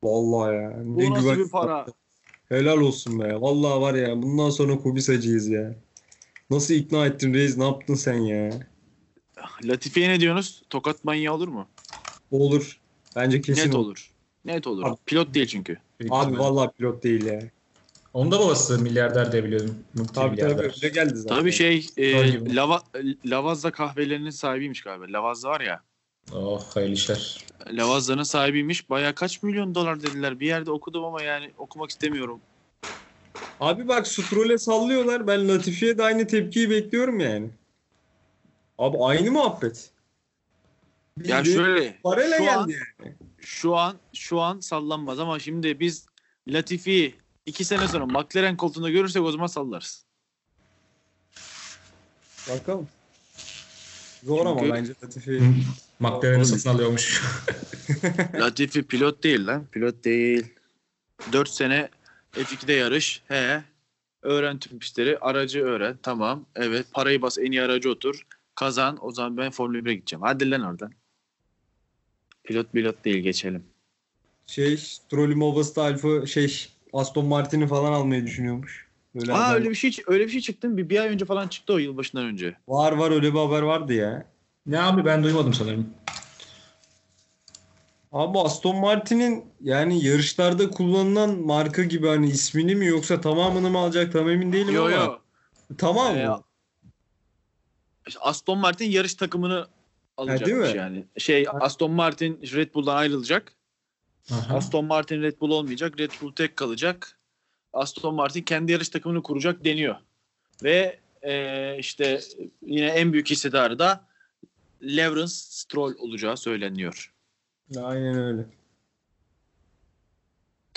[SPEAKER 5] Vallahi ya. Ne
[SPEAKER 6] Bu nasıl
[SPEAKER 5] güven-
[SPEAKER 6] bir para?
[SPEAKER 5] Helal olsun be. Vallahi var ya bundan sonra Kubisacıyız ya. Nasıl ikna ettin reis? Ne yaptın sen ya?
[SPEAKER 6] Latifi'ye ne diyorsunuz? Tokat manyağı olur mu?
[SPEAKER 5] Olur. Bence kesin
[SPEAKER 6] Net
[SPEAKER 5] olur.
[SPEAKER 6] olur. Net olur.
[SPEAKER 5] Abi-
[SPEAKER 6] Pilot değil çünkü.
[SPEAKER 5] Abi vallahi pilot değil ya.
[SPEAKER 4] Onda babası milyarder diye biliyorum.
[SPEAKER 5] Tabii tabii
[SPEAKER 4] Multimilyarder.
[SPEAKER 5] öyle geldi zaten.
[SPEAKER 6] Tabii şey e,
[SPEAKER 4] Tabii.
[SPEAKER 6] Lava, Lavazza kahvelerinin sahibiymiş galiba. Lavazza var ya.
[SPEAKER 4] Oh hayırlı işler.
[SPEAKER 6] Lavazza'nın sahibiymiş. Baya kaç milyon dolar dediler. Bir yerde okudum ama yani okumak istemiyorum.
[SPEAKER 5] Abi bak Stroll'e sallıyorlar. Ben Latifi'ye de aynı tepkiyi bekliyorum yani. Abi aynı muhabbet.
[SPEAKER 6] Ya
[SPEAKER 5] Bildiğin
[SPEAKER 6] şöyle
[SPEAKER 5] parayla
[SPEAKER 6] şu
[SPEAKER 5] geldi
[SPEAKER 6] an-
[SPEAKER 5] yani.
[SPEAKER 6] şu an şu an sallanmaz ama şimdi biz Latifi'yi iki sene sonra McLaren koltuğunda görürsek o
[SPEAKER 5] <laughs>
[SPEAKER 6] zaman sallarız.
[SPEAKER 5] Bakalım. Zor ama
[SPEAKER 6] Çünkü-
[SPEAKER 5] bence Latifi.
[SPEAKER 4] McLaren'i satın alıyormuş.
[SPEAKER 6] Latifi pilot değil lan. Pilot değil. 4 sene F2'de yarış. He. Öğren tüm pistleri. Aracı öğren. Tamam. Evet. Parayı bas. En iyi aracı otur. Kazan. O zaman ben Formula 1'e gideceğim. Hadi lan oradan. Pilot pilot değil. Geçelim.
[SPEAKER 5] Şey, Stroll'ün babası da Alfa şey Aston Martin'i falan almayı düşünüyormuş. Böyle
[SPEAKER 6] Aa
[SPEAKER 5] haber-
[SPEAKER 6] öyle bir şey öyle bir şey çıktı. Bir, bir ay önce falan çıktı o yılbaşından önce.
[SPEAKER 5] Var var öyle bir haber vardı ya.
[SPEAKER 4] <laughs> ne abi ben duymadım sanırım.
[SPEAKER 5] Abi Aston Martin'in yani yarışlarda kullanılan marka gibi hani ismini mi yoksa tamamını mı alacak tam emin değilim
[SPEAKER 6] Yo
[SPEAKER 5] ama.
[SPEAKER 6] yo.
[SPEAKER 5] Tamam
[SPEAKER 6] Ee,
[SPEAKER 5] mı?
[SPEAKER 6] işte Aston Martin yarış takımını
[SPEAKER 5] değil
[SPEAKER 6] alacakmış
[SPEAKER 5] mi?
[SPEAKER 6] yani. Şey Aston Martin Red Bull'dan ayrılacak.
[SPEAKER 4] Aha.
[SPEAKER 6] Aston Martin Red Bull olmayacak. Red Bull tek kalacak. Aston Martin kendi yarış takımını kuracak deniyor. Ve e, işte yine en büyük hissedarı da Lawrence Stroll olacağı söyleniyor.
[SPEAKER 5] Aynen öyle.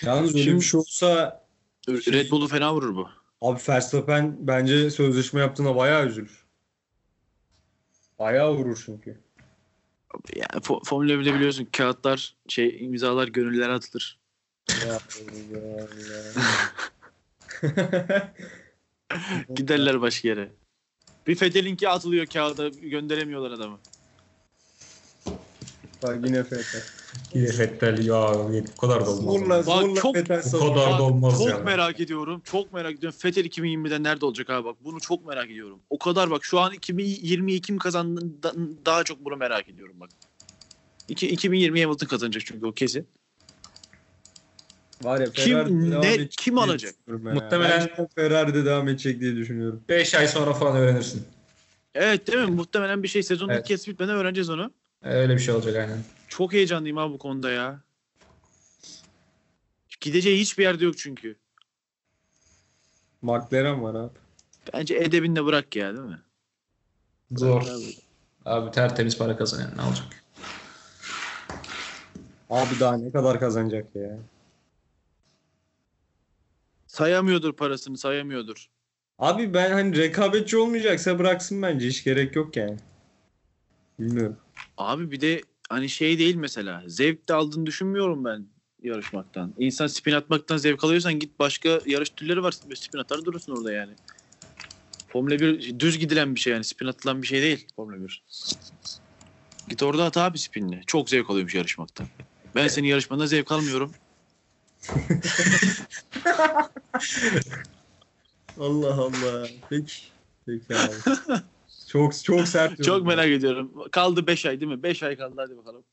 [SPEAKER 5] Yalnız öyle
[SPEAKER 6] Şimdi-
[SPEAKER 5] bir şey olsa
[SPEAKER 6] Red Bull'u fena vurur bu.
[SPEAKER 5] abi Verstappen bence sözleşme yaptığına bayağı üzülür. Bayağı vurur çünkü.
[SPEAKER 6] Yani Fo- Formula 1'de biliyorsun kağıtlar şey imzalar gönüllere atılır.
[SPEAKER 5] Ya Allah.
[SPEAKER 6] Giderler başka yere. Bir Fethel'inki atılıyor kağıda gönderemiyorlar adamı.
[SPEAKER 5] Bak yine Fetel.
[SPEAKER 4] Yine Fettel ya bu kadar da
[SPEAKER 5] Zorla
[SPEAKER 4] olmaz.
[SPEAKER 5] zorla
[SPEAKER 6] çok-
[SPEAKER 5] Fetel
[SPEAKER 4] Bu
[SPEAKER 5] savunur.
[SPEAKER 4] kadar da olmaz
[SPEAKER 6] çok
[SPEAKER 4] yani.
[SPEAKER 6] merak ediyorum. Çok merak ediyorum. Fetel 2020'de nerede olacak abi bak. Bunu çok merak ediyorum. O kadar bak şu an 2022 kim kazandı daha çok bunu merak ediyorum bak. İki- 2020 Hamilton kazanacak çünkü o kesin.
[SPEAKER 5] Var ya
[SPEAKER 6] Kim-
[SPEAKER 5] Ferrari devam
[SPEAKER 6] ne-
[SPEAKER 5] edecek
[SPEAKER 6] kim
[SPEAKER 5] diye
[SPEAKER 6] alacak?
[SPEAKER 5] düşünüyorum ya.
[SPEAKER 4] Muhtemelen-
[SPEAKER 5] Bence Ferrari'de devam edecek diye düşünüyorum.
[SPEAKER 4] 5 ay sonra falan öğrenirsin.
[SPEAKER 6] Evet değil mi? Muhtemelen bir şey sezonun
[SPEAKER 4] Evet.
[SPEAKER 6] ilk kez bitmeden öğreneceğiz onu.
[SPEAKER 4] Öyle bir şey olacak aynen.
[SPEAKER 6] Çok heyecanlıyım abi bu konuda ya. Gideceği hiçbir yerde yok çünkü.
[SPEAKER 5] McLaren var abi.
[SPEAKER 6] Bence edebini de bırak ya değil mi?
[SPEAKER 4] Zor. Abi tertemiz para kazanıyor. Ne olacak?
[SPEAKER 5] Abi daha ne kadar kazanacak ya?
[SPEAKER 6] Sayamıyordur parasını sayamıyordur.
[SPEAKER 5] Abi ben hani rekabetçi olmayacaksa bıraksın bence. Hiç gerek yok yani. Bilmiyorum.
[SPEAKER 6] Abi bir de hani şey değil mesela. Zevk de aldığını düşünmüyorum ben yarışmaktan. İnsan spin atmaktan zevk alıyorsan git başka yarış türleri var. Spin atar durursun orada yani. Formula 1 düz gidilen bir şey yani. Spin atılan bir şey değil Formula 1. Git orada at abi spinle. Çok zevk alıyormuş yarışmaktan. Ben senin yarışmanda zevk almıyorum.
[SPEAKER 5] Allah Allah. Peki. Peki abi. çok çok sert.
[SPEAKER 6] Çok
[SPEAKER 5] yorum.
[SPEAKER 6] merak ediyorum. Kaldı 5 ay değil mi? 5 ay kaldı hadi bakalım.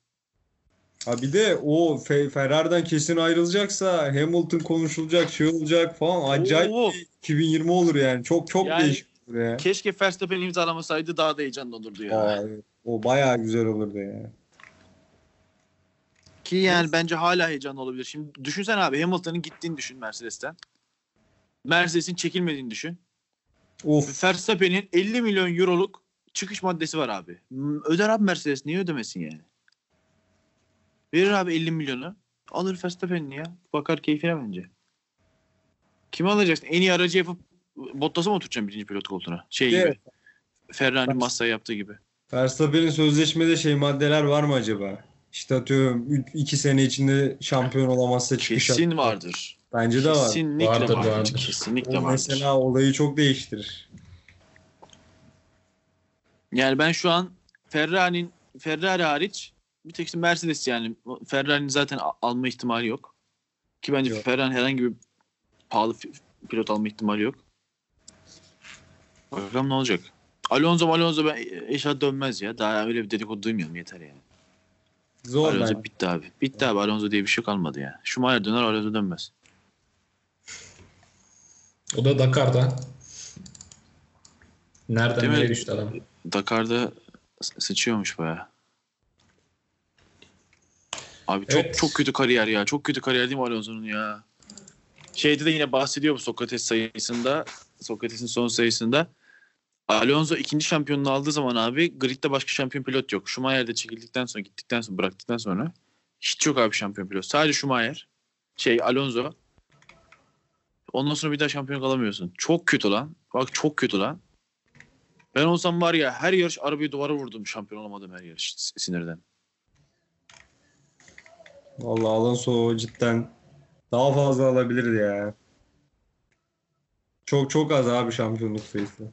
[SPEAKER 5] Ha bir de o Fe- Ferrari'den kesin ayrılacaksa Hamilton konuşulacak, şey olacak falan. Acayip
[SPEAKER 6] Oo.
[SPEAKER 5] bir 2020 olur yani. Çok çok
[SPEAKER 6] Yani-
[SPEAKER 5] değişik olur ya.
[SPEAKER 6] Keşke Verstappen imzalamasaydı daha da heyecanlı olurdu ya.
[SPEAKER 5] Aa, evet. O bayağı güzel olurdu ya.
[SPEAKER 6] Ki yani bence hala heyecanlı olabilir. Şimdi düşünsen abi Hamilton'ın gittiğini düşün Mercedes'ten. Mercedes'in çekilmediğini düşün.
[SPEAKER 5] Of
[SPEAKER 6] Verstappen'in 50 milyon euroluk çıkış maddesi var abi. M- Öder abi Mercedes niye ödemesin yani? Verir abi 50 milyonu. Alır Verstappen'ini ya. Bakar keyfine bence. Kimi alacaksın? En iyi aracı yapıp Bottas'a mı oturacaksın birinci pilot koltuğuna? Şey
[SPEAKER 5] Evet.
[SPEAKER 6] gibi. Ferrari Massa yaptığı gibi.
[SPEAKER 5] Verstappen'in sözleşmede şey maddeler var mı acaba? İşte atıyorum 2 sene içinde şampiyon olamazsa çıkış hakkı.
[SPEAKER 6] Kesin vardır.
[SPEAKER 5] Bence de var.
[SPEAKER 6] Kesinlikle
[SPEAKER 4] Vardır,
[SPEAKER 6] vardır.
[SPEAKER 4] vardır.
[SPEAKER 6] Kesinlikle
[SPEAKER 5] O
[SPEAKER 6] vardır.
[SPEAKER 5] mesela olayı çok değiştirir.
[SPEAKER 6] Yani ben şu an Ferrari'nin Ferrari hariç bir tek işte Mercedes yani Ferrari'nin zaten a- alma ihtimali yok. Ki bence
[SPEAKER 5] Yok.
[SPEAKER 6] Ferrari herhangi bir pahalı fi- pilot alma ihtimali yok. Bakalım ne olacak. Alonso Alonso ben eşat dönmez ya. Daha öyle bir dedikodu duymuyorum yeter yani.
[SPEAKER 5] Zor
[SPEAKER 6] Alonso
[SPEAKER 5] bence.
[SPEAKER 6] bitti abi. Bitti abi Alonso diye bir şey kalmadı ya. Schumacher döner Alonso dönmez.
[SPEAKER 4] O da Dakar'da. Nereden
[SPEAKER 6] Değil mi?
[SPEAKER 4] nereye düştü adam?
[SPEAKER 6] Dakar'da s- sıçıyormuş baya. Abi çok
[SPEAKER 4] Evet.
[SPEAKER 6] çok kötü kariyer ya. Çok kötü kariyer değil mi Alonso'nun ya? Şeyde de yine bahsediyor bu Sokrates sayısında. Sokrates'in son sayısında. Alonso ikinci şampiyonunu aldığı zaman abi gridde başka şampiyon pilot yok. Schumacher'de çekildikten sonra gittikten sonra bıraktıktan sonra hiç yok abi şampiyon pilot. Sadece Schumacher şey Alonso. Ondan sonra bir daha şampiyon kalamıyorsun. Çok kötü lan. Bak çok kötü lan. Ben olsam var ya her yarış arabayı duvara vurdum şampiyon olamadım her yarış s- sinirden.
[SPEAKER 5] Vallahi Alonso cidden daha fazla alabilirdi ya. Çok çok az abi şampiyonluk sayısı.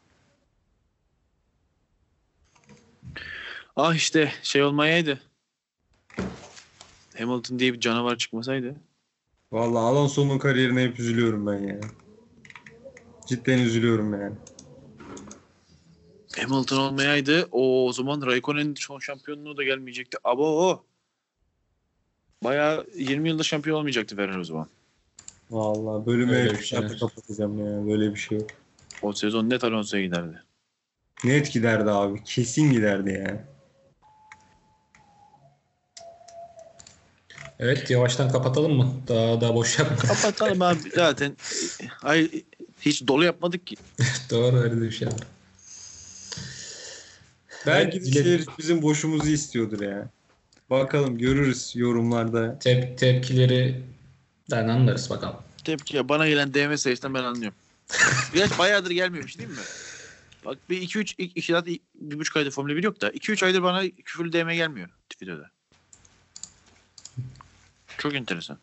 [SPEAKER 6] Ah işte şey olmayaydı. Hamilton diye bir canavar çıkmasaydı.
[SPEAKER 5] Vallahi Alonso'nun kariyerine hep üzülüyorum ben ya. Cidden üzülüyorum yani.
[SPEAKER 6] Hamilton olmayaydı o, o zaman Raikkonen'in son şampiyonluğu da gelmeyecekti. Abo Bayağı 20 yılda şampiyon olmayacaktı Ferrari o zaman.
[SPEAKER 5] Vallahi bölümü
[SPEAKER 4] Öyle
[SPEAKER 5] hep
[SPEAKER 4] bir şey.
[SPEAKER 5] kapatacağım ya. Böyle bir şey yok.
[SPEAKER 6] O sezon net Alonso'ya giderdi.
[SPEAKER 5] Net giderdi abi. Kesin giderdi yani.
[SPEAKER 4] Evet yavaştan kapatalım mı? Daha daha boş yapma. <laughs>
[SPEAKER 6] Kapatalım abi zaten. Ay, hiç dolu yapmadık ki.
[SPEAKER 4] Doğru öyle de bir şey var.
[SPEAKER 5] Belki
[SPEAKER 4] Evet,
[SPEAKER 5] bir
[SPEAKER 4] ilet-
[SPEAKER 5] şey bizim boşumuzu istiyordur ya. Bakalım görürüz yorumlarda.
[SPEAKER 4] Tep tepkileri anlarız bakalım.
[SPEAKER 6] Tepki ya bana gelen DM sayısından ben anlıyorum. Gerçi bayağıdır gelmiyormuş değil mi? Bak bir 2 3 2 zaten bir buçuk aydır Formula 1 yok da 2 3 aydır bana küfürlü DM gelmiyor Twitter'da. Çok enteresan.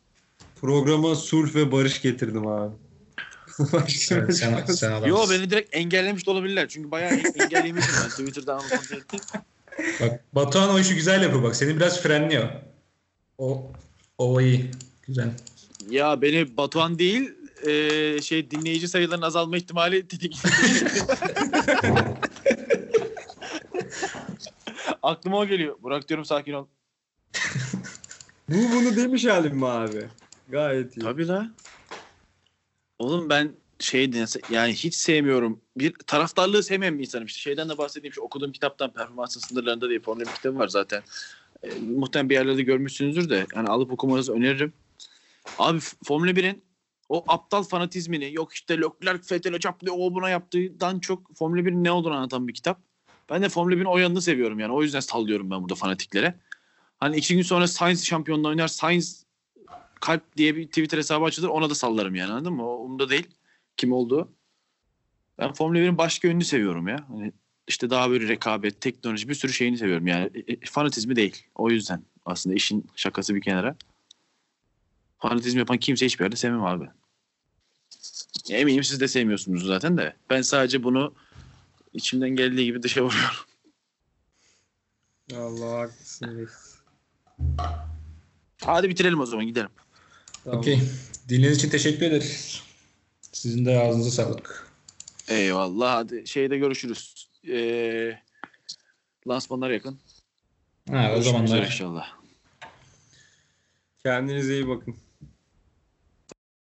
[SPEAKER 5] Programa Sulh ve Barış getirdim abi. Başka
[SPEAKER 4] Sen,
[SPEAKER 5] bir
[SPEAKER 4] <laughs> sen,
[SPEAKER 5] şey-
[SPEAKER 4] sen adamsın.
[SPEAKER 6] Yo beni direkt engellemiş de olabilirler. Çünkü bayağı en- engellemişim ben Twitter'da ama kontrol ettim.
[SPEAKER 4] Bak Batuhan o işi güzel yapıyor bak. Seni biraz frenliyor. O, o iyi. Güzel.
[SPEAKER 6] Ya beni Batuhan değil eee, şey dinleyici sayılarının azalma ihtimali tetikledi. Aklıma o geliyor. Burak diyorum sakin ol.
[SPEAKER 5] Bu bunu demiş halim mi abi? Gayet iyi.
[SPEAKER 6] Tabii la. Oğlum ben şey dinlese- yani hiç sevmiyorum. Bir taraftarlığı sevmeyen bir insanım işte. Şeyden de bahsedeyim şu okuduğum kitaptan Performansın Sınırlarında diye Formula 1 kitabı var zaten. E, muhtemelen bir yerlerde görmüşsünüzdür de yani alıp okumanızı öneririm. Abi F- Formula 1'in o aptal fanatizmini yok işte Leclerc Fethel'e çarptı o buna yaptığından çok Formula 1'in ne olduğunu anlatan bir kitap. Ben de Formula 1'in o yanını seviyorum yani. O yüzden sallıyorum ben burada fanatiklere. Hani iki gün sonra Sainz şampiyonluğu oynar. Sainz kalp diye bir Twitter hesabı açılır ona da sallarım yani anladın mı? O umurumda değil kim olduğu. Ben Formula 1'in başka yönünü seviyorum ya. Hani işte daha böyle rekabet, teknoloji bir sürü şeyini seviyorum yani. E, e, fanatizmi değil. O yüzden aslında işin şakası bir kenara. Fanatizm yapan kimse hiçbir yerde sevmem abi. Eminim siz de sevmiyorsunuz zaten de. Ben sadece bunu içimden geldiği gibi dışa vuruyorum. <laughs>
[SPEAKER 5] Allah haklısın. reis.
[SPEAKER 6] Hadi bitirelim o zaman gidelim.
[SPEAKER 5] Tamam.
[SPEAKER 4] Okey. Dinlediğiniz için teşekkür ederiz. Sizin de ağzınıza sağlık.
[SPEAKER 6] Eyvallah hadi şeyde görüşürüz. Ee, lansmanlar yakın.
[SPEAKER 4] Ha, o
[SPEAKER 6] Görüşmek üzere
[SPEAKER 4] zamanlar.
[SPEAKER 6] inşallah.
[SPEAKER 5] Kendinize iyi bakın.